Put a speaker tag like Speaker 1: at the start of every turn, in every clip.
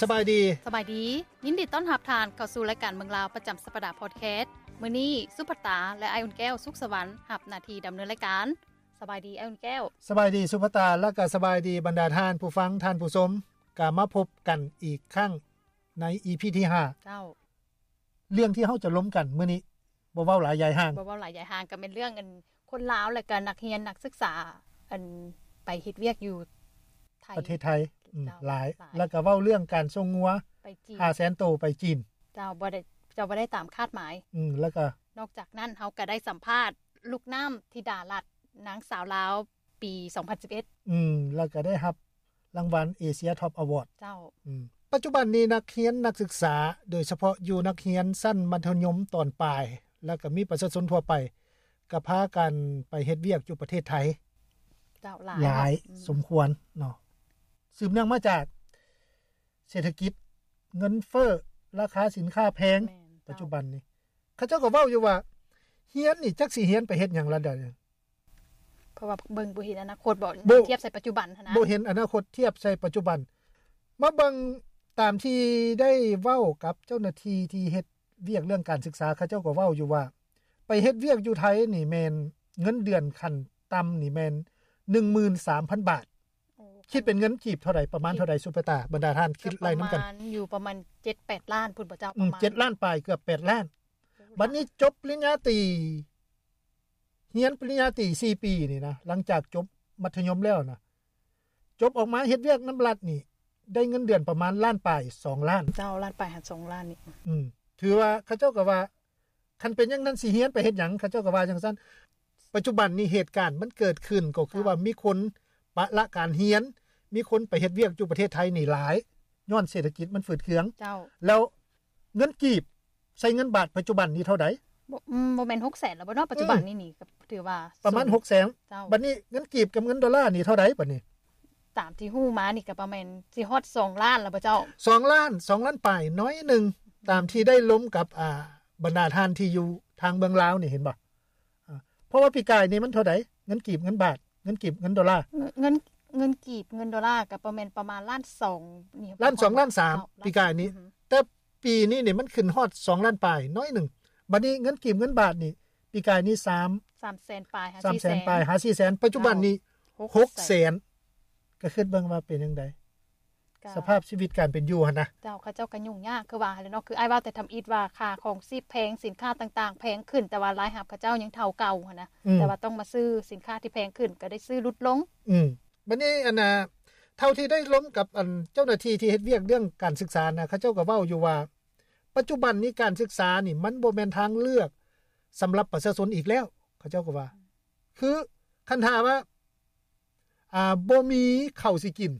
Speaker 1: สบายดี
Speaker 2: สบายดี ยินดีต้อนรับทานเข้าสู่รายการเมืองลาวประจำสัปดาห์พอดแคสต์มื้อนี้สุภัตตาและไออุ่นแก้วสุขสวรรค์หับหน้าที่ดำเนินรายการ สบายดีไออุ่นแก้ว
Speaker 1: สบายดีสุภตาและก็สบายดีบรรดาท่านผู้ฟังท่านผู้ชมกามาพบกันอีกครั้งใน EP ที่
Speaker 2: เจ้า
Speaker 1: 5เรื่องที่เฮาจะล้มกันมื้อนี้บ่เว้าหลายยายห่าง
Speaker 2: บ่เว้าหลายใหญ่ห่างก็เป็นเรื่องอันคนลาวและก็นักเรียนนักศึกษา อันไปเฮ็ดเวียกอยู่ไทย
Speaker 1: ประเทศไทยอืม
Speaker 2: เจ้า
Speaker 1: หลาย
Speaker 2: หลาย
Speaker 1: แล้วก็เว้าเรื่องการส่งงัว
Speaker 2: ไปจีน
Speaker 1: 500,000โตวไปจีน
Speaker 2: เจ้าบ่ได้เจ้าบ่ได้ตามคาดหมาย
Speaker 1: อืมแล้วก็
Speaker 2: นอกจากนั้นเฮาก็ได้สัมภาษณ์ลูกน้ำธิดารัตน์นางสาวลาวปี 2011
Speaker 1: อืมแล้วก็ได้รับรางวัล Asia Top Award
Speaker 2: เจ้า
Speaker 1: อืมปัจจุบันนี้นักเรียนนักศึกษา โดยเฉพาะอยู่นักเรียนสั้นมัธยมตอนปลาย แล้วก็มีประชาชนทั่วไปก็พากันไปเฮ็ดเวียกอยู่ประเทศไทย
Speaker 2: เจ้าหลาย
Speaker 1: หลาย
Speaker 2: อืม
Speaker 1: สมควรเนาะสืบเนื่องมาจาก เศรษฐกิจ เงินเฟ้อราคาสินค้าแพง
Speaker 2: แม่นเจ้า
Speaker 1: ปัจจุบันนี้ เขาเจ้าก็เว้าอยู่ว่าเฮียนนี่จักสิเฮียนไปเฮ็ดหยังล่ะเด้อ
Speaker 2: เพราะว่าเบิ่งบ่เห็นอนาคตบ่
Speaker 1: บ่
Speaker 2: เทียบใส่ปัจจุบันหั้นนะ
Speaker 1: บ่เห็นอนาคตเทียบใส่ปัจจุบัน มาเบิ่งตามที่ได้เว้ากับเจ้าหน้าที่ที่เฮ็ดเวียกเรื่องการศึกษาเขาเจ้าก็เว้าอยู่ว่า ไปเฮ็ดเวียกอยู่ไทยนี่แม่นเงินเดือนขั้นต่ำนี่แม่น13,000 บาท
Speaker 2: โอ้
Speaker 1: คิดเป็นเงินกีบเท่าไหร่ประมาณเท่าไหร่ซุปเปอร์ตาร์บรรดาท่านคิดไล่นำกัน
Speaker 2: ประมาณอยู่ประมาณ 7-8 ล้านพุ่นบ่เจ้า
Speaker 1: อืม
Speaker 2: ประมณ
Speaker 1: เจ็ดล้านปลายเกือบแปดล้าน บัดนี้จบปริญญาตรีเรียนปริญญาตรีสี่ปีนี่นะ หลังจากจบมัธยมแล้วนะจบออกมาเฮ็ดเวียกน้ำรัดนี่ ได้เงินเดือนประมาณล้านปลายสองล้าน
Speaker 2: เจ้าล้านไปหา2ล้านนี่
Speaker 1: อืม ถือว่าเขาเจ้าก็ว่าคันเป็นอย่างนั้นสิเฮียนไปเฮ็ดหยังเขาเจ้าก็ว่าจังซั่นปัจจุบันนี้เหตุการณ์มันเกิดขึ้นก็คือว่ามีคนปะละการเฮียน มีคนไปเฮ็ดเวียกอยู่ประเทศไทยนี่หลายย้อนเศรษฐกิจมันฝืดเคือง
Speaker 2: เจ้า
Speaker 1: แล้วเงินกีบใช้เงินบาทปัจจุบันนี้เท่าใด
Speaker 2: บ่อืมบ่แม่น600,000แล้วบ่เนาะปัจจุบันนี่นี่ก็ถือว่า
Speaker 1: ประมาณ
Speaker 2: สู
Speaker 1: ห
Speaker 2: ง
Speaker 1: กแสน
Speaker 2: เจ้า
Speaker 1: บัดนี้เงินกีบกับเงินดอลลาร์นี่เท่าไหร่บัดนี้
Speaker 2: ตามที่ฮู้มานี่ก็ประมาณสิฮอด2ล้านแล้วบ่เจ้า
Speaker 1: สองล้านสองล้านปลายน้อยหนึ่งตามที่ได้ล้มกับอ่าบรรดาทานที่อยู่ทางเมืองลาวนี่เห็นบ่อ่าเพราะว่าปีกายนี่มันเท่าไหร่เงินกีบเงินบาทเงินกีบเงินดอลลาร์
Speaker 2: เงินเงินเงินกีบเงินดอลลาร์ก็ประมาณประมาณล้านสองนี่
Speaker 1: ล้านสองล้านสาม
Speaker 2: เจ้
Speaker 1: ปีกายนี้
Speaker 2: อือหือ
Speaker 1: แต่ปีนี้นี่มันขึ้นฮอดสองล้านปลายน้อยหนึ่งบัดนี้เงินกีบเงินบาทนี่ปีกายนี่สาม
Speaker 2: 300,000ปลายหา
Speaker 1: สามแสน
Speaker 2: 400,000
Speaker 1: ปลายหาสี่แสนปัจจุบันนี้หกแสนก็ขึ้นเบิ่งว่าเป็นจังได
Speaker 2: ก็
Speaker 1: สภาพชีวิตการเป็นอยู่หั่นนะ
Speaker 2: เจ้าเขาเจ้าก็ยุ่งยากคือว่าหั่นแหล้วเนาะคืออ้ายว่าแต่ทำอิฐว่าค่าของซีพแพงสินค้าต่างๆ แพงขึ้น แต่ว่ารายหาบเขาเจ้ายังเท่าเก่าหั่นนะ
Speaker 1: อืม
Speaker 2: แต่ว่าต้องมาซื้อสินค้าที่แพงขึ้นก็ได้ซื้อลดลง
Speaker 1: อืมบัดนี้อันน่ะเท่าที่ได้ล้มกับอันเจ้าหน้าที่ที่เฮ็ดเวียกเรื่องการศึกษานะเขาเจ้าก็เว้าอยู่ว่า ปัจจุบันนี้การศึกษานี่ มันบ่แม่นทางเลือกสำหรับประชาชนอีกแล้ว เขาเจ้าก็ว่า คือคันถามว่า อ่าบ่มีข้าวสิกิน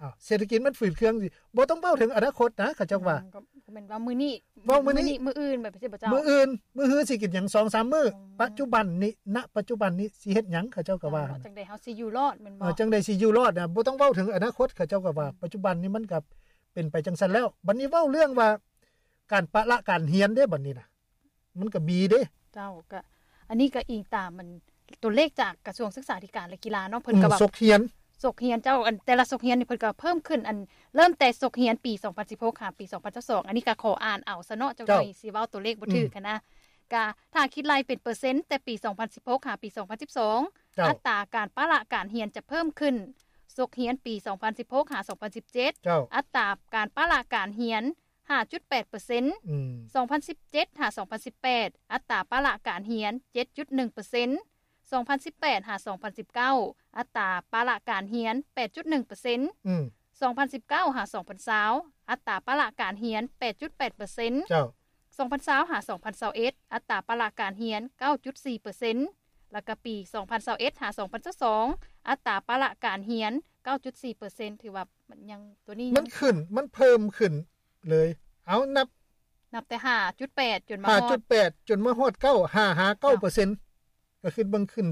Speaker 1: อ้าวเศรษฐกิจมันฝืดเคืองสิบ่ต้องเว้าถึงอนาคตนะเขาเจ้าว่า
Speaker 2: ก็ก็เป็นว่ามื้อนี้
Speaker 1: ว่ามื้อนี้
Speaker 2: มื้ออื่นแบบสิบ่เจ้า
Speaker 1: มื้ออื่นมื้อฮื้อสิกินหยัง2-3มื้ออ
Speaker 2: ม
Speaker 1: ปัจจุบันนี้ณปัจจุบันนี้สิเฮ็ดหยังเขาเจ้าก็ว่า
Speaker 2: เจ้จังได๋เฮาสิอยู่รอดแม่น
Speaker 1: เอ
Speaker 2: บ่
Speaker 1: อจังได๋สิอยู่รอดน่ะบ่ต้องเว้าถึงอนาคตเขาเจ้าก็ว่า ปัจจุบันนี้มันก็เป็นไปจังซั่นแล้ว บัดนี้เว้าเรื่องว่า การปะละการเฮียนเด้บัดนี้น่ะ มันก็บีเด้
Speaker 2: เจ้าก็ อันนี้ก็อิงตามมันตัวเลขจากกระทรวงศึกษาธิการและกีฬาเนาะเพิ่นก็ว่า
Speaker 1: สกเฮียน
Speaker 2: ศกเฮียนเจ้าอันแต่ละศกเฮียนนี่เพิ่นก็เพิ่มขึ้นอันเริ่มแต่ศกเฮียนปี 2016ค่ะปี 2022อันนี้ก็ขออ่านเอาซะเนาะเจ้าหน่อยสิเว้าตัวเลขบ่
Speaker 1: อืม
Speaker 2: ถูกหั้นนะก็ถ้าคิดรายเป็นเปอร์เซ็นต์แต่ปี 2016ค่ะปี 2012
Speaker 1: เจ้า
Speaker 2: อัตราการปะละการเฮียนจะเพิ่มขึ้นศกเฮียนปี 2016หา2017
Speaker 1: เจ้า
Speaker 2: อัตราการปะละการเฮียน 5.8%
Speaker 1: อืม
Speaker 2: 2017หา2018 อัตราปะละการเฮียน 7.1% 2018หา2019 อัตราปะละการเฮียน 8.1%
Speaker 1: อืม
Speaker 2: 2019หา2020 อัตราปะละการเฮียน 8.8%
Speaker 1: เจ้า
Speaker 2: 2020หา2021 อัตราปะละการเฮียน 9.4%แล้วก็ปี 2021หา2022 อัตราปะละการเฮียน 9.4%ถือว่ามันยังตัวนี้
Speaker 1: มั
Speaker 2: ยั
Speaker 1: น
Speaker 2: ง
Speaker 1: ขึ้น มันเพิ่มขึ้นเลย เอานับ
Speaker 2: นับแต่ 5.8 จนมาฮอด
Speaker 1: 5.8 จนมาฮอด9 5 5 9%ก็ขึ้นเบิ่งขึ้น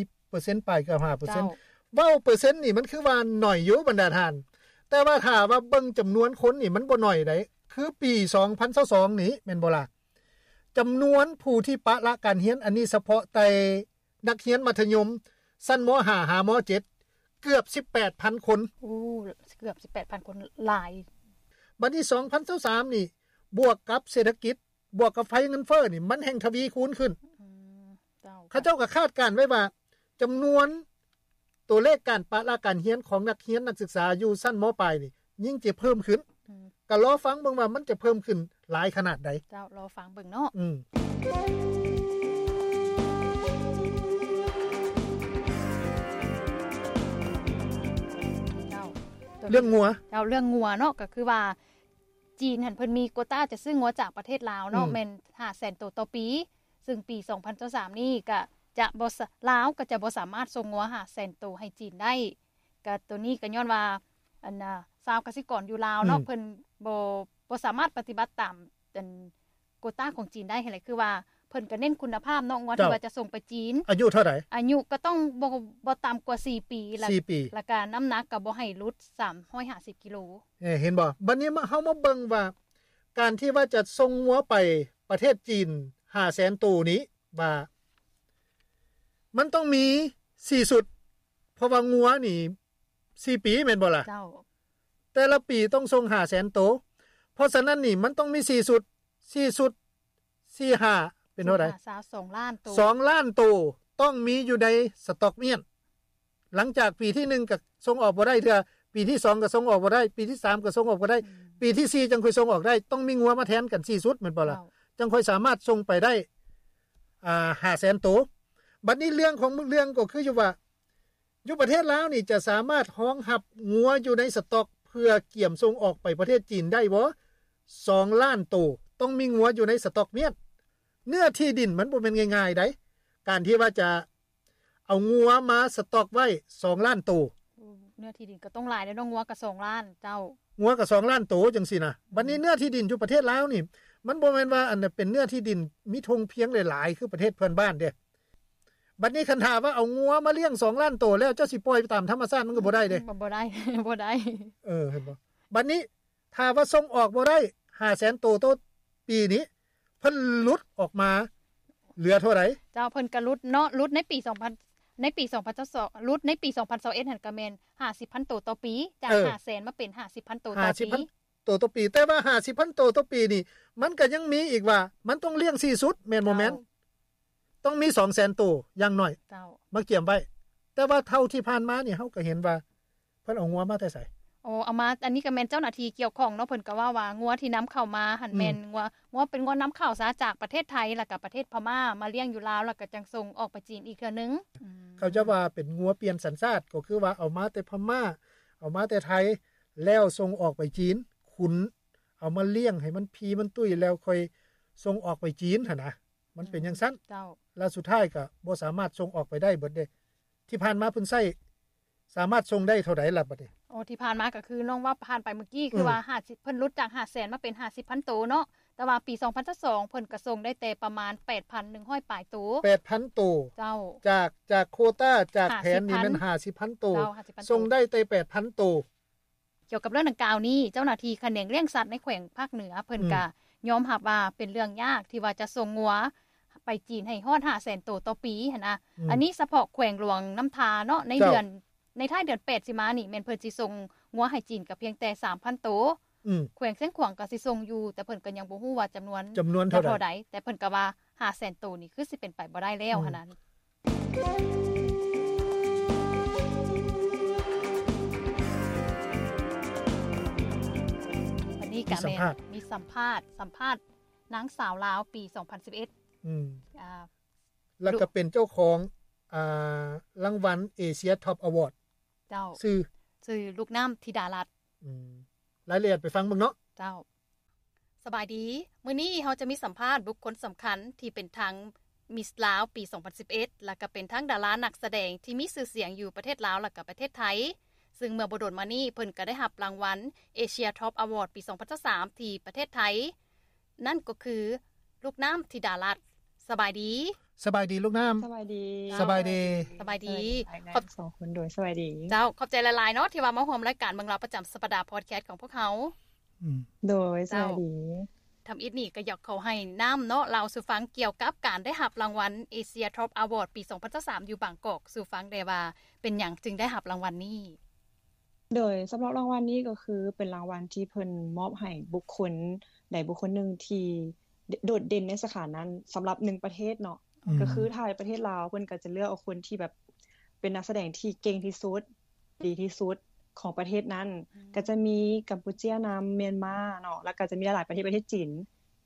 Speaker 1: 4%ไปกับ5%
Speaker 2: เจ้า
Speaker 1: เว้าเปอร์เซ็นต์นี่มันคือว่าหน่อยอยู่บรรดาทาน แต่ว่าถ้าว่าเบิ่งจำนวนคนนี่มันบ่หน่อยได้คือปี 2022นี้แม่นบ่ล่ะจำนวนผู้ที่ปะละการเรียนอันนี้เฉพาะแต่นักเรียนมัธยม สั้นมห้าหามเจ็ดเกือบ 18,000 คน
Speaker 2: โอ้เกือบ 18,000 คนหลาย
Speaker 1: บัดนี้2023นี่ บวกกับเศรษฐกิจ บวกกับไฟเงินเฟ้อนี่มันแห่งทวีคูณขึ้น
Speaker 2: อืมเจ้า
Speaker 1: เขาเจ้าก็คาดการณ์ไว้ว่าจำนวนตัวเลขการปะลาการเฮียนของนักเฮียนนักศึกษาอยู่สั้นมปลายนี่ ยิ่งจะเพิ่มขึ้น
Speaker 2: อืม
Speaker 1: ก็รอฟังเบิ่งว่ามันจะเพิ่มขึ้นหลายขนาดใด
Speaker 2: เจ้ารอฟังเบิ่งเนาะ
Speaker 1: อืม
Speaker 2: เจ้า
Speaker 1: เรื่องงัว
Speaker 2: เจ้าเรื่องงัวเนาะก็คือว่า จีนหันเพิ่นมีโกต้าจะซื้องัวจากประเทศลาวเนาะ
Speaker 1: อืม
Speaker 2: แม่น500,000ตัวต่อปี ซึ่งปี 2023นี่ก็จะบ่สลาวก็จะบ่สามารถส่งงัว500,000ตัวให้จีนได้ก็ตัวนี้ก็ย้อนว่าอันน่ะชาวกสิกรอยู่ลาวเนาะเพิ่นบ่บ่สามารถปฏิบัติตามอันโกต้าของจีนได้เห็นเลยคือว่าเพิ่นก็เน้นคุณภาพเนาะงัวที่ว่าจะส่งไปจีน
Speaker 1: อายุเท่าไหร่
Speaker 2: อายุก็ต้องบ่บ่ต่ำกว่า 4 ปีแล้ว
Speaker 1: สี่ปี
Speaker 2: แล้วก็น้ำหนักก็บ่ให้ลด350กิโล
Speaker 1: เอ่อเห็นบ่บัดนี้มาเฮามาเบิ่งว่า การที่ว่าจะส่งงัวไปประเทศจีน500,000ตูนี้ว่ามันต้องมีสี่สุด เพราะว่างัวนี่สี่ปีแม่นบ่ล่ะ
Speaker 2: เจ้า
Speaker 1: แต่ละปีต้องส่ง500,000ตูเพราะฉะนั้นนี่มันต้องมีสี่สุดสี่สุดสี่ห้าเป็นเท่าไหร่
Speaker 2: สาวสองล้านตัว
Speaker 1: สองล้านตูต้องมีอยู่ในสต็อกเมียน หลังจากปีที่หนึ่งก็ส่งออกบ่ได้เทื่อปีที่สองก็ส่งออกบ่ได้ ปีที่สามก็ส่งออกบ่ได้ ปีที่สี่จังค่อยส่งออกได้ ต้องมีงัวมาแทนกันสี่สุดเหมือนเปล่าล่ะ
Speaker 2: เจ้า
Speaker 1: จังค่อยสามารถส่งไปได้อ่าห้าแสนตัวบัดนี้เรื่องของเรื่องก็คืออยู่ว่าอยู่ประเทศลาวนี่จะสามารถห้องหับงัวอยู่ในสต็อกเพื่อเกี่ยมส่งออกไปประเทศจีนได้บ่สองล้านตัวต้องมีงัวอยู่ในสต็อกเมียนเนื้อที่ดินมันบ่เป็นง่ายๆได้การที่ว่าจะเอางัวมาสต็อกไว้สองล้านตัว
Speaker 2: เนื้อที่ดินก็ต้องหลายแล้วน้องงัวก็สองล้านเจ้า
Speaker 1: งัวกับสองล้านโตจังสินะวันนี้เนื้อที่ดินอยู่ประเทศลาวนี่ มันบ่แม่นว่าอันน่ะเป็นเนื้อที่ดินมีธงเพียงหลายๆคือประเทศเพื่อนบ้านเด้บัดนี้คันถามว่าเอางัวมาเลี้ยงสองล้านโตแล้วเจ้าสิปล่อยไปตามธรรมชาติมันก็บ่ได้เด้
Speaker 2: บ่ได้ บ่ได้
Speaker 1: เออเห็นบ่บัดนี้ถ้าว่าส่งออกบ่ได้500,000โตโตปีนี้เพิ่นหลุดออกมา เหลือเท่าไหร่
Speaker 2: เจ้าเพิ่นก็รุดเนาะรุดในปี2000ในปี2022รุดในปี2021หันก็แม่น50,000ตัวต่อปี จาก500,000มาเป็น 50,000ตัวต่อปี
Speaker 1: 50,000โตโตปี แต่ว่า50,000โตโตปีนี่ มันก็ยังมีอีกว่า มันต้องเลี้ยงสี่สุดแม่นบ่แม่นต้องมี200,000โตอย่างน้อย
Speaker 2: เจ้า
Speaker 1: มาเกี่ยมไว้ แต่ว่าเท่าที่ผ่านมาเนี่ยเฮาก็เห็นว่า เพิ่นเอางัวมาแต่ไส
Speaker 2: โอ้เอามาอันนี้ก็แม่นเจ้าหน้าที่เกี่ยวข้องเนาะเพิ่นก็ว่าว่างัวที่นํเข้ามาหันแม่นงัวงัวเป็นงัวนํเข้าซะจากประเทศไทยแล้วก็ประเทศพม่ามาเลี้ยงอยู่ลาวแล้วก็จังส่งออกไปจีนอีกเทื่อนึงอืม
Speaker 1: เขาจะว่าเป็นงัวเปลี่ยนสัญชาติก็คือว่าเอามาแต่พม่า เอามาแต่ไทยแล้วส่งออกไปจีน ขุน เอามาเลี้ยงให้มันพีมันตุ้ยแล้วค่อยส่งออกไปจีนหั่นนะมันเป็นอย่างซั่น
Speaker 2: เจ้า
Speaker 1: แล้วสุดท้ายก็บ่สามารถส่งออกไปได้เบิดเด้ที่ผ่านมาเพิ่นใช้สามารถส่งได้เท่าใดล่ะบัดนี้
Speaker 2: โอ้ที่ผ่านมาก็คือน้องว่าผ่านไปเมื่อกี้คือ
Speaker 1: ม
Speaker 2: ว่าห้าสิบเพิ่นลดจากห้าแสนมาเป็นห้าสิบพันตัวเนาะแต่ว่าปีสองพันสองเพิ่นกระทรงได้แต่ประมาณแปดพันหนึ่งห้อยปลายตัว
Speaker 1: 8,000โตว
Speaker 2: เจ้า
Speaker 1: จากจากโควต้าจากแผนนี่แมัน
Speaker 2: 50,000
Speaker 1: 50,000โตว
Speaker 2: เจ้าห้าสิบพัน
Speaker 1: ส่
Speaker 2: ตั
Speaker 1: ง
Speaker 2: ว
Speaker 1: ได้แต่8,000โตว
Speaker 2: เกี่ยวกับเรื่องดังกล่าวนี้เจ้าหน้าที่แขนงเลี้ยงสัตว์ในแขวงภาคเหนือเพิ่น
Speaker 1: อืม
Speaker 2: กะยอมรับว่าเป็นเรื่องยากที่ว่าจะส่งงัว ไปจีนให้ฮอดห้าแสนตัวต่อปีหั่นนะ
Speaker 1: ม
Speaker 2: อันนี้เฉพาะแขวงหลวงน้ำทาเนาะใน
Speaker 1: เจ้า
Speaker 2: เดือนในท้ายเดือน8สิมานี่แม่นเพิ่นสิส่งงัวให้จีนก็เพียงแต่3,000ตัว
Speaker 1: อืม
Speaker 2: แขวงเส้นขวางก็สิส่งอยู่ แต่เพิ่นก็ยังบ่ฮู้ว่าจำนวน
Speaker 1: จำนวนเท่าใด
Speaker 2: เท่าใดแต่เพิ่นก็ว่า500,000ตัวนี่คือสิเป็นไปบ่ได้แล้ว
Speaker 1: อืม
Speaker 2: หั่นนั้นวันนี้ก็แม่นมีสัมภาษณ์สัมภาษณ์นางสาวลาวปี 2011
Speaker 1: อืม
Speaker 2: อ่า
Speaker 1: แล้ว
Speaker 2: ลู
Speaker 1: ก็
Speaker 2: ก
Speaker 1: เป็นเจ้าของอ่ารางวัลเอเชียท็อปอวอร์ด
Speaker 2: เจ้า
Speaker 1: ซื้อ
Speaker 2: ชื่อลูกน้ำธิดารัตน์
Speaker 1: อืมรายละเอียดไปฟังเบิ่งเนาะ
Speaker 2: เจ้า สบายดี มื้อนี้เราจะมีสัมภาษณ์บุคคลสำคัญที่เป็นทั้งมิสลาวปี 2011 และก็เป็นทั้งดารานักแสดงที่มีชื่อเสียงอยู่ประเทศลาวและก็ประเทศไทย ซึ่งเมื่อบดลมานี่เพิ่นก็ได้รับรางวัล Asia Top Award ปี 2023ที่ประเทศไทย นั่นก็คือลูกน้ำธิดารัตน์สบายดี
Speaker 1: สบายดีลูกน้ำ
Speaker 3: สวัสดี
Speaker 1: สบายดี
Speaker 2: สบายดี
Speaker 3: ขอบสองคนด้วยสวัสดี
Speaker 2: เจ้าขอบใจหลายๆเนาะที่ว่ามาร่วมรายการเมืองลาวประจำสัปดาห์พอดแคสต์ของพวกเขา
Speaker 1: อืม
Speaker 3: โดยสวัสดี
Speaker 2: ทำอิดนี่ก็อยากเขาให้น้ำเนาะเราสู่ฟังเกี่ยวกับการได้หับรางวัล Asia Top Award ปี 2023 อยู่บางกอกสู่ฟังได้ว่าเป็นอย่างจึงได้หับรางวัลนี้
Speaker 3: โดยสำหรับรางวัลนี้ก็คือเป็นรางวัลที่เพิ่นมอบให้บุคคลใดบุคคลหนึ่งที่โดดเด่นในสาขานั้นสำหรับหนึ่งประเทศเนาะก็คือไทยประเทศลาวเพิ่นก็จะเลือกเอาคนที่แบบเป็นนักแสดงที่เก่งที่สุด ดีที่สุดของประเทศนั้น
Speaker 2: อืม
Speaker 3: ก็จะมีกัมพูเชียนำเมียนมาเนาะแล้วก็จะมีหลายประเทศประเทศจีน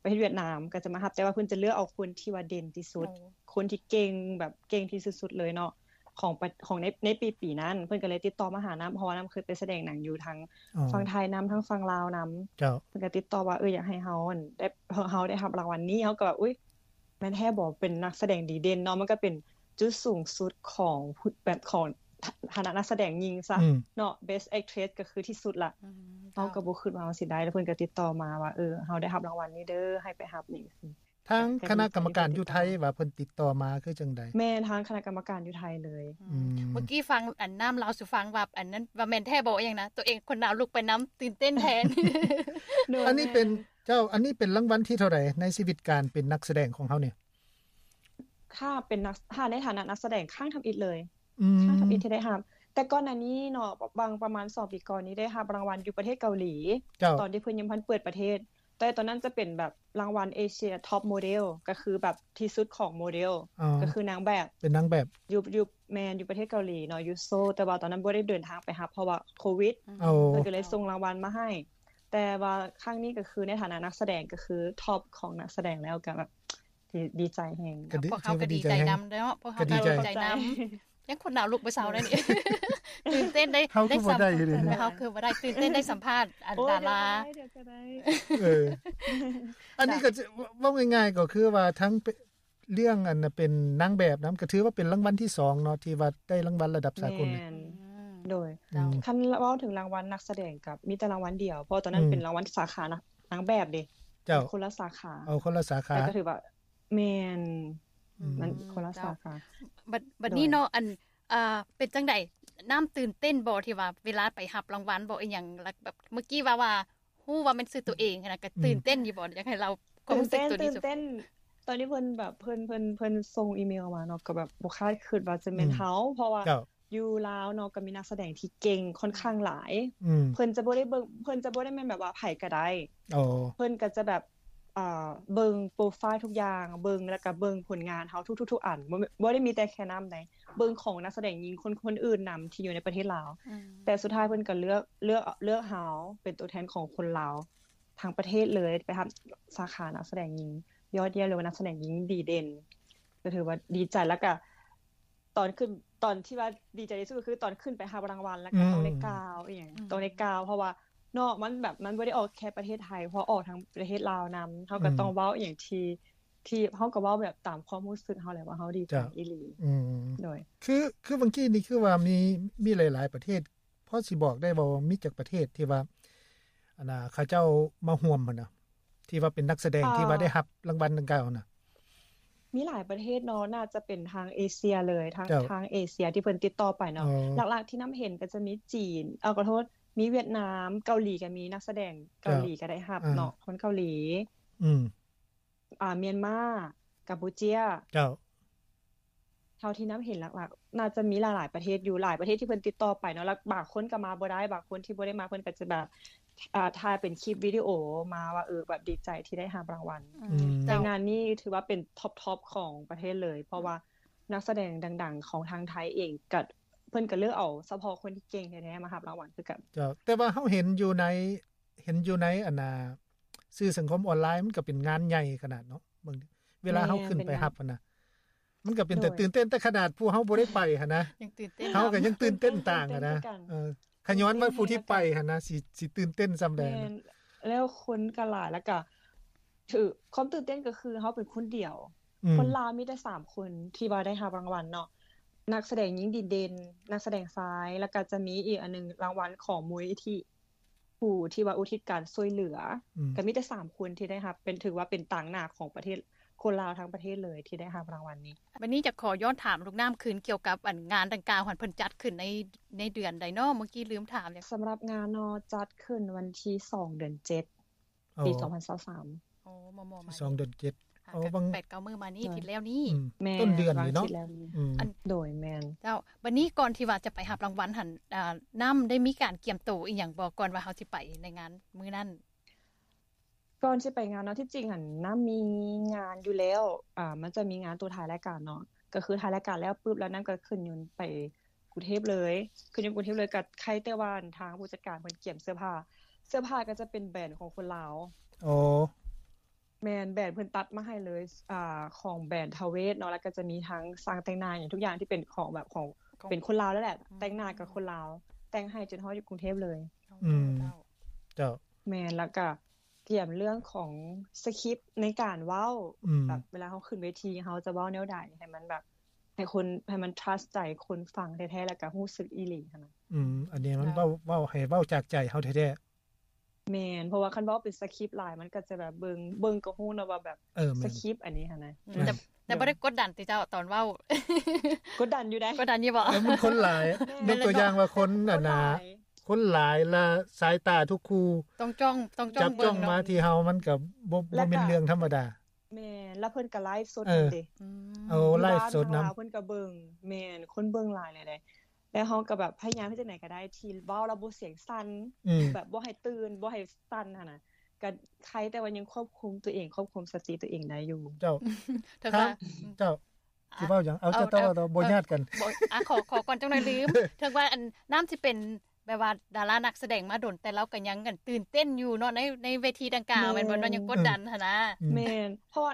Speaker 3: ประเทศเวียดนามก็จะมาครับแต่ว่าเพิ่นจะเลือกเอาคนที่ว่าเด่นที่สุด
Speaker 2: โอ้
Speaker 3: คนที่เก่งแบบเก่งที่สุดๆเลยเนาะของประของในในปีปีนั้น เพื่อนก็เลยติดต่อมาหาน้ำเพราะว่าน้ำเคยไปแสดงหนังอยู่ทั้ง
Speaker 1: อ๋อ
Speaker 3: ฝั่งไทยน้ำทั้งฝั่งลาวน้
Speaker 1: เจ้า
Speaker 3: ำเพื่อนก็ติดต่อว่าเอออยากให้เฮาอั่นได้เฮาได้รับรางวัลนี้เฮาก็แบบอุ้ยแม่นแท้บอกเป็นนักแสดงดีเด่นเนาะมันก็เป็นจุดสูงสุดของผู้แบบของฐานะนักแสดงหญิงซะ
Speaker 1: อืม
Speaker 3: เนาะ best actress ก็คือที่สุดละ
Speaker 2: อืม
Speaker 3: เขาก็บ่คิดว่าเราสิได้แล้วเพิ่นก็ติดต่อมาว่าเออเราได้รับรางวัลนี้เด้อให้ไปรับนี่สิ
Speaker 1: ทางคณะกรรมการอยู่ไทยว่าเพิ่นติดต่อมาคือจังใด
Speaker 3: แม่ทางคณะกรรมการอยู่ไทยเลย
Speaker 1: อืม
Speaker 2: เมื่อกี้ฟังอันน้ำเราสุฟังว่าอันนั้นว่าแม่นแท้บอกอย่างนะ ตัวเองคนหนาวลุกไปน้ำตื่นเต้นแทน
Speaker 3: โดย
Speaker 1: อันนี้เป็นเจ้าอันนี้เป็นรางวัลที่เท่าไหร่ในชีวิตการเป็นนักแสดงของเฮาเนี่ย
Speaker 3: ถ้าเป็นนักถ้าในฐานะนักแสดงข้างทำอิฐเลย
Speaker 1: อืม
Speaker 3: ข้างทำอิฐที่ได้รับแต่ก่อนหน้านี้เนาะบางประมาณสอบปีก่อนนี้ได้รับรางวัลอยู่ประเทศเกาหลี
Speaker 1: เจ้า
Speaker 3: ตอนที่เพิ่นยังพันเปิดประเทศ แต่ตอนนั้นจะเป็นแบบรางวัลเอเชียท็อปโมเดลก็คือแบบที่สุดของโมเดล
Speaker 1: อ๋อ
Speaker 3: ก็คือนางแบบ
Speaker 1: เป็นนางแบบ
Speaker 3: อยู่อยู่แมนอยู่ประเทศเกาหลีเนาะอยู่โซลแต่ว่าตอนนั้นบ่ได้เดินทางไปรับเพราะว่าโควิด
Speaker 1: เอา
Speaker 3: มันก็เลยส่งรางวัลมาให้ แต่ว่าครั้งนี้ก็คือในฐานะนักแสดงก็คือท็อปของนักแสดงแล้วก็แบบดีดีใจแฮง
Speaker 1: ก็ดี
Speaker 2: พวกเขาก็ดีใจนำเนาะพวกเขาก็
Speaker 1: ก็ดีใจ
Speaker 2: ดีใจนำยังคนหนาวลุกไปเสาได้ นี่ ตื่นเต้นได้
Speaker 1: เขาคือบ่ได้
Speaker 2: สัมภาษณ์
Speaker 1: เลยนะ
Speaker 2: เขาคือบ่ได้ตื่นเต้นได้สัมภาษณ์อัน
Speaker 3: โอ้
Speaker 2: ดาย
Speaker 3: เดี๋ยว
Speaker 2: รา
Speaker 3: ก็ได้เดี๋ยวก็ได้
Speaker 1: เออ อันนี้ก็จะว่าง่ายๆก็คือว่าทั้งเป็นเรื่องอันน่ะเป็นนางแบบนำก็ถือว่าเป็นรางวัลที่สองเนาะที่ว่าได้รางวัลระดับสากล
Speaker 3: แม
Speaker 1: เนี่ย
Speaker 3: นโดย
Speaker 1: อืม
Speaker 3: คันเว้าถึงรางวัลนักแสดงกับมีแต่รางวัลเดียว เพราะตอนนั้
Speaker 1: อื
Speaker 3: น
Speaker 1: ม
Speaker 3: เป็นรางวัลสาขานักนางแบบเด้
Speaker 1: เจ้า
Speaker 3: คนละสาขา
Speaker 1: เอาคนละสาขา
Speaker 3: แต่ก็ถือว่าแมน
Speaker 1: อืม
Speaker 3: มันคนละสาขา
Speaker 2: บัดบัด
Speaker 3: โดย
Speaker 2: นี้เนาะอันอ่าเป็นจังไดน้ำตื่นเต้นบ่ที่ว่าเวลาไปหับรางวัลบ่อีหยังแล้วแบบเมื่อกี้ว่าว่าฮู้ว่ามันคือตัวเองนะก็ตื่นเต้นอยู่บ่อยากให้เราความ
Speaker 3: ตื่น
Speaker 2: รู้สึก
Speaker 3: เต้น
Speaker 2: ตัวนี้
Speaker 3: ตื่น
Speaker 2: สุด
Speaker 3: เต้น ตอนนี้เพิ่นแบบเพิ่นเพิ่นเพิ่นส่งอีเมลมาเนาะก็แบบบ่คาดคิดว่าจะแม่นเฮาเพราะว่า
Speaker 1: เจ้า
Speaker 3: อยู่ลาวเนาะก็มีนักแสดงที่เก่งค่อนข้างหลาย
Speaker 1: อืม
Speaker 3: เพิ่นจะบ่ได้เบิ่งเพิ่นจะบ่ได้แม่นแบบว่าไผก็ได้
Speaker 1: โอ้
Speaker 3: เพิ่นก็จะแบบอ่าเบิ่งโปรไฟล์ทุกอย่างเบิ่งแล้วก็เบิ่งผลงานเฮาทุกๆๆอันบ่แม่นบ่ได้มีแต่แค่นำใดเบิ่งของนักแสดงหญิงคนคนอื่นนำที่อยู่ในประเทศลาว แต่สุดท้ายเพิ่นก็เลือกเลือกเลือกเฮาเป็นตัวแทนของคนลาวทั้งประเทศเลยไปครับสาขานักแสดงหญิง ยอดเยี่ยมเลยว่านักแสดงหญิงดีเด่น ก็ถือว่าดีใจแล้วก็ตอนขึ้นตอนที่ว่าดีใจที่สุดก็คือตอนขึ้นไปหารางวัลแล้วก็ต้องได้กล่าวอีกอย่าง
Speaker 2: อืม
Speaker 3: ต้องได้กล่าวเพราะว่าเนอกมันแบบมันบ่ได้ออกแค่ประเทศไทยเพราะออกทั้งประเทศลาวนํเฮาก็ต้องเว้าอีกอย่างที่ที่เฮาก็เว้าแบบตามความรู้สึกเฮาแหละว่าเฮาดีใจอีหลี
Speaker 1: อืม
Speaker 3: โดย
Speaker 1: คือคือบางทีนี่คือว่ามีมีหลาย ๆ ประเทศพอสิบอกได้บ่ว่ามีจากประเทศที่ว่าอันน่ะเขาเจ้ามาห่วมหั่นน่ะที่ว่าเป็นนักแสดง
Speaker 3: อ่า
Speaker 1: ที่ว่าได้รับรางวัลดังกล่าวน่ะ
Speaker 3: มีหลายประเทศเนาะน่าจะเป็นทางเอเชียเลยทาง
Speaker 1: ครับ
Speaker 3: ทางเอเชียที่เพิ่นติดต่อไป
Speaker 1: อ๋
Speaker 3: เนาะ
Speaker 1: อ
Speaker 3: หลักๆที่น้ำเห็นก็จะมีจีน เอาขอโทษมีเวียดนามเกาหลีก็มีนักแสดงเกาหลีก็ได้รับเนาะคนเกาหลี
Speaker 1: อืม
Speaker 3: อ่าเมียนมากัมพูเจีย
Speaker 1: เจ้า
Speaker 3: เท่าที่น้ำเห็นหลักๆ น่าจะมีหลายๆประเทศอยู่หลายประเทศที่เพิ่นติดต่อไปเนาะแล้วบางคนก็มาบ่ได้บางคนที่บ่ได้มาเพิ่นก็จะแบบอ่าถ่ายเป็นคลิปวิดีโอมาว่าเออแบบดีใจที่ได้รับรางวัล
Speaker 1: อืม
Speaker 3: แต่
Speaker 2: เจ้าง
Speaker 3: านนี้ถือว่าเป็นท็อปทอปของประเทศเลย เพราะว่านักแสดงดัง ๆ ของทางไทยเองกับเพิ่นก็เลือกเอาเฉพาะคนที่เก่งแท้ๆมารับรางวัลคือกับ
Speaker 1: เจ้าแต่ว่าเฮาเห็นอยู่ในเห็นอยู่ในอันน่ะสื่อสังคมออนไลน์มันก็เป็นงานใหญ่ขนาดเนาะบางเวลา
Speaker 3: แม่
Speaker 1: เฮาขึ้น
Speaker 3: เป็น
Speaker 1: ไป
Speaker 3: งาน
Speaker 1: รับหั่นน่ะมันก็เป็นแต่ตื่นเต้นแต่ขนาดผู้เฮาบ่ได้ไปหั่นนะ
Speaker 2: ยังตื่นเต้น
Speaker 1: เขาก็
Speaker 2: นำ
Speaker 1: ยังตื่นเต้นต่างอะนะ
Speaker 3: ตื่นเต้นด้วยกัน
Speaker 1: เออขย้อนว่าผู้ที่ไปหั่นนะสิสิตื่นเต้นซ้ำแดง
Speaker 3: แม่นแล้วคนก็หลายแล้วก็ถือความตื่นเต้นก็คือเขาเป็นคนเดียว
Speaker 1: อืม
Speaker 3: คนลาวมีได้สามคนที่ว่าได้รับรางวัลเนาะนักแสดงหญิงดีเด่นนักแสดงซ้ายแล้วก็จะมีอีกอันหนึงรางวัลของมูลนิธิผู้ที่ว่าอุทิศการช่วยเหลือ
Speaker 1: อืม
Speaker 3: ก็มีแต่สามคนที่ได้รับเป็นถือว่าเป็นต่างหน้าของประเทศคนลาวทั้งประเทศเลยที่ได้รับรางวัลนี้
Speaker 2: วันนี้จะขอย้อนถามลูกน้ำคืนเกี่ยวกับอันงานดังกล่าวหันเพิ่นจัดขึ้นในในเดือนใดเนาะเมื่อกี้ลืมถามเนี่ย
Speaker 3: สำหรับงานนอจัดขึ้นวันที่ 2 เดือน 7
Speaker 1: อ๋อ
Speaker 3: ปี 2023
Speaker 2: โอ้มอมอมา
Speaker 1: สองเดือนเจ็ด
Speaker 2: อ่
Speaker 1: อ๋อบัง
Speaker 2: แปดเก้ามือมานี่ทิศแล้วนี่
Speaker 1: อืม
Speaker 3: แม่
Speaker 1: ต้นเดือน
Speaker 3: วาง
Speaker 1: นี่เนาะ
Speaker 3: คิดแล้วนี่
Speaker 1: อืม
Speaker 2: อัน
Speaker 3: โดยแม่น
Speaker 2: เจ้าวันนี้ก่อนที่ว่าจะไปหับรางวัลหันอ่าน้ำได้มีการเกี่ยมตัวอีหยังบอกก่อนว่าเฮาสิไปในงานมื้อนั้น
Speaker 3: ก่อนจะไปงานเนาะที่จริงหันน้ามีงานอยู่แล้ว อ่า มันจะมีงานตัวท้ายรายการเนาะก็คือท้ายรายการแล้วปุ๊บแล้วนั่นก็ขึ้นยนต์ไปกรุงเทพเลยขึ้นยนต์กรุงเทพเลยกับใครไต้หวันทางผู้จัดการเพิ่นเกี่ยมเสื้อผ้า เสื้อผ้าก็จะเป็นแบรนด์ของคนลาว
Speaker 1: อ๋อ
Speaker 3: แมนแบรนด์เพิ่นตัดมาให้เลยอ่าของแบรนด์ทาเวสเนาะแล้วก็จะมีทั้งสร้างแต่งหน้าอย่างทุกอย่างที่เป็นของแบบของ
Speaker 2: ของ
Speaker 3: เป็นคนลาวแล้วแหละ
Speaker 2: อืม
Speaker 3: แต่งหน้ากับคนลาว แต่งให้จนฮอดอยู่กรุงเทพเลย
Speaker 1: อืม เจ้า
Speaker 3: แมนแล้วก็เตรียมเรื่องของสคริปต์ในการเว้า
Speaker 1: อืม
Speaker 3: แบบเวลาเขาขึ้นเวทีเขาจะเว้าแนวใดให้มันแบบให้คนให้มัน trust ใจคนฟังแท้ๆแล้วก็รู้สึกอีหลีค่ะนะ
Speaker 1: อืม อันนี้มันเว้าเว้าให้เว้าจากใจเฮาแท้
Speaker 3: แมนเพราะว่าคันเว้าเป็นสคริปต์หลายมันก็จะแบบเบิงเบิงก็ฮู้เนาะว่าแบบ
Speaker 1: ๆเออ
Speaker 3: ส
Speaker 1: แม่น
Speaker 3: คริปต์อันนี้ค่ะนะ
Speaker 2: อืม
Speaker 1: แม่น
Speaker 2: แต่แต่บ่ได้กดดันติเจ้าตอนเว้าก
Speaker 3: ดดันอยู่ได้
Speaker 2: กดดันอยู่บ่
Speaker 1: แล้วมันคนหลาย
Speaker 3: แม่
Speaker 1: ย
Speaker 3: น
Speaker 1: กตัวอย่างว่าคนน่ะนะคนหลายละสายตาทุกคู่
Speaker 2: ต้องจ้องต้องจ้อ
Speaker 1: จั
Speaker 2: ง
Speaker 1: บ
Speaker 2: เบิ่
Speaker 1: จ้อง
Speaker 2: เนะ
Speaker 1: มาที่เฮามันก็บ่
Speaker 3: แล้
Speaker 1: บ่
Speaker 3: วก็
Speaker 1: เป็นเรื่องธรรมดา
Speaker 3: แมนแล้วเพิ่นก็ไลฟ์สด
Speaker 1: เออ
Speaker 3: เด้
Speaker 2: อืม
Speaker 1: เอาไลฟ์สดนำ
Speaker 3: อยู่บ้าทางลาวเพิ่นก็เบิงแมนคนเบิงหลายเลยได้แล้วเขาก็แบบพยายามที่จะไหนก็ได้ที่เว้าแล้วบ่เสียงสั่น
Speaker 1: อืม
Speaker 3: แบบบ่ให้ตื่นบ่ให้สั่นหั่นน่ะก็ใครแต่ว่ายังควบคุมตัวเองควบคุมสติตัวเองได้อยู่
Speaker 1: เจ้า
Speaker 2: เธอ
Speaker 1: ครั
Speaker 2: ค่ะ
Speaker 1: บ เจ้าสิเว้าหยังเอาเจ้าเจ้าเจ้าบ่ญาติกัน
Speaker 2: บอกอ่ะขอขอก่อนจังหน่อยลื ม เธอว่าอันน้ำสิเป็นแบบว่าดารานักแสดงมาโดนแต่เราก็ยังกันตื่นเต้นอยู่เนาะในในเวทีดังกล่าว
Speaker 3: แม่
Speaker 2: แม่นบ่เนาะยังกดดันหั่นนะ
Speaker 1: อืม
Speaker 3: แม่นเพราะว่า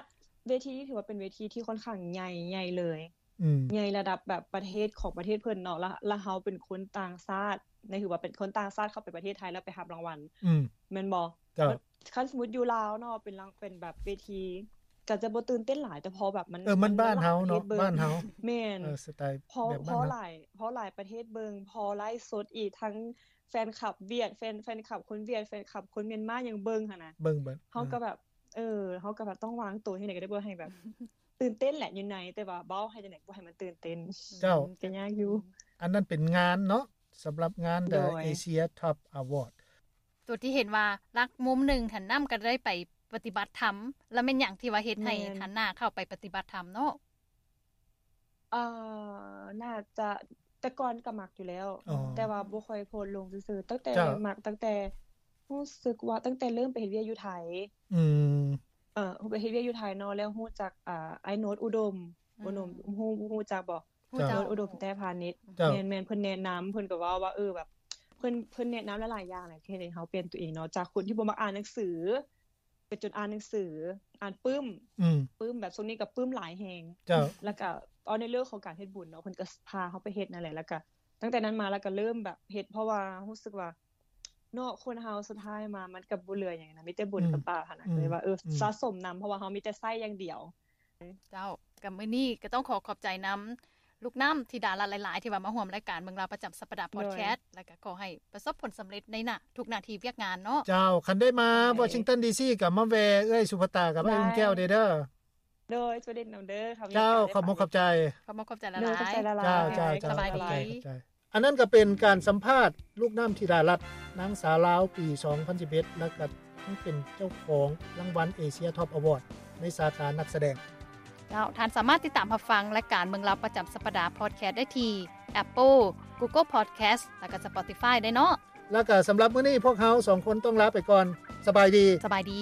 Speaker 3: เวทีนี้ถือว่าเป็นเวทีที่ค่อนข้างใหญ่ใหญ่เลย
Speaker 1: อืม
Speaker 3: ใหญ่ระดับแบบประเทศของประเทศเพิ่นเนาะแล้วแล้วเฮาเป็นคนต่างชาติในถือว่าเป็นคนต่างชาติเข้าไปประเทศไทยแล้วไปรับรางวัล
Speaker 1: อืม
Speaker 3: แม่นบ่
Speaker 1: เจ้า
Speaker 3: คันสมมุติอยู่ลาวเนาะเป็นรางเป็นแบบเวทีก็จะบ่ตื่นเต้นหลายแต่พอแบบมัน
Speaker 1: เออ มันบ้านเฮา
Speaker 3: หลยปร
Speaker 1: เนาะ
Speaker 3: ทศบิ่ง
Speaker 1: บ้านเฮา
Speaker 3: แม่น
Speaker 1: เออ สไตล์
Speaker 3: พอ
Speaker 1: แบบ
Speaker 3: เพ
Speaker 1: บ้าน
Speaker 3: ราะ
Speaker 1: เฮา
Speaker 3: หลายเพราะหลายประเทศเบิงพอไลฟ์สดอีกทั้งแฟนคลับเวียดแฟนแฟนคลับคนเวียดแฟนคลับคนเมียนมายังเบิงหั่นน่ะ
Speaker 1: เบิ่งเบิ่ง
Speaker 3: เฮาก็แบบ เออเฮาก็แบบต้องวางตัวให้ไหนก็ได้บ่ให้แบบ ตื่นเต้นแหละอยู่ไหนแต่ว่าเบ้าให้จังได๋บ่ให้มันตื่นเต้น
Speaker 1: เจ้า
Speaker 3: ก็ยากอยู่
Speaker 1: อันนั้นเป็นงานเนาะสำหรับงาน The
Speaker 3: โดย
Speaker 1: Asia Top Award
Speaker 2: ตัวที่เห็นว่ารักมุมหนึ่งหันน้ำก็ได้ไปปฏิบัติธรรมแล้วแม่นหยังที่ว่าเฮ็ดให้
Speaker 3: แม่น
Speaker 2: หันหน้าเข้าไปปฏิบัติธรรมเนาะ
Speaker 3: เอ่อน่าจะแต่ก่อนก็มักอยู่แล้ว
Speaker 1: อ๋อ
Speaker 3: แต่ว่าบ่ค่อยโพสต์ลงซื่อๆตั้งแต่
Speaker 1: เจ้า
Speaker 3: มักตั้งแต่รู้สึกว่าตั้งแต่เริ่มไปเฮ็ดเวียกอยู่ไทย
Speaker 1: อืม
Speaker 3: เอ่อไปเฮ็ดเวียกอยู่ไทยเนาะแล้วรู้จักอ่าไอ้โน้ตอุดมบ่หนุ่มรู้รู้จักบ่
Speaker 2: ผู้เจ้า
Speaker 3: โนนอุดมแต้พาณิชย์
Speaker 1: เจ้า
Speaker 3: แมนแมนเพิ่นแนะนำเพิ่นก็เว่าว่าเออแบบเพิ่นเพิ่นแนะนำหลายๆอย่างแหละที่เฮ็ดให้เฮาเปลี่ยนตัวเองเนาะจากคนที่บ่มักอ่านหนังสือไปจนอ่านหนังสือ อ่านปึ้ม
Speaker 1: อืม
Speaker 3: ปึ้มแบบช่วงนี้ก็ปึ้มหลายแฮง
Speaker 1: เจ้า
Speaker 3: แล้วก็เอาในเรื่องของการเฮ็ดบุญเนาะเพิ่นก็พาเฮาไปเฮ็ดนั่นแหละแล้วก็ตั้งแต่นั้นมาแล้วก็เริ่มแบบเฮ็ดเพราะว่ารู้สึกว่าเนาะคนเฮาสุดท้ายมามันก็บ่เหลือหยังนะมีแต่บุญกับบาปหั่นน่ะ
Speaker 1: อืม
Speaker 3: เลยว่าเอออ
Speaker 1: ม
Speaker 3: สะสมนํเพราะว่าเฮามีแต่ไส้อย่างเดียว
Speaker 2: เจ้ากับมื้อนี้ก็ต้องขอขอบใจน้ำลูกน้ำที่ดาราหลาย ๆ ที่ว่ามาร่วมรายการเมืองเราวประจำสัปดาห์พอดแคสต์แล้วก็ขอให้ประสบผลสำเร็จในหน้าทุกหน้าที่เวียกงานเนาะ
Speaker 1: เจ้า คันได้มา
Speaker 3: ได้
Speaker 1: วอชิงตันดีซีกับมาแวเอ้ยสุภตากับ
Speaker 3: ได้
Speaker 1: ไอ้อุ้งแก้วเด้อเด้อ
Speaker 3: โดยสวัสดีนำเด้อค่ะมีโอกา
Speaker 1: เจ้าข
Speaker 3: ส
Speaker 1: อบ
Speaker 3: ได้
Speaker 1: คุณขอ
Speaker 3: ฟั
Speaker 1: บ
Speaker 3: ง
Speaker 1: ใจ
Speaker 2: ขอบคุณขอบใจหลา
Speaker 3: เนอะขอบ
Speaker 2: ย
Speaker 3: ใจละลาย
Speaker 1: เจ้าเจ้าเจ้า
Speaker 2: สบาย
Speaker 1: ข
Speaker 2: ดี
Speaker 1: อบใจขอบใจอันนั้นก็เป็นการสัมภาษณ์ลูกน้ำธิดารัตน์นางสาวลาวปี 2011แล้วก็ทั้งเป็นเจ้าของรางวัลเอเชียท็อปอวอร์ดในสาขานักแสดง
Speaker 2: ๆแล้วท่านสามารถติดตามรับฟังรายการเมืองเราวประจำสัปดาห์พอดแคสต์ได้ที่ Apple Google Podcast แล้วก็ Spotify ได้เนาะ
Speaker 1: แล้วก็สำหรับมื้อนี้พวกเขาสองคนต้องลาไปก่อน สบายดี
Speaker 2: สบายดี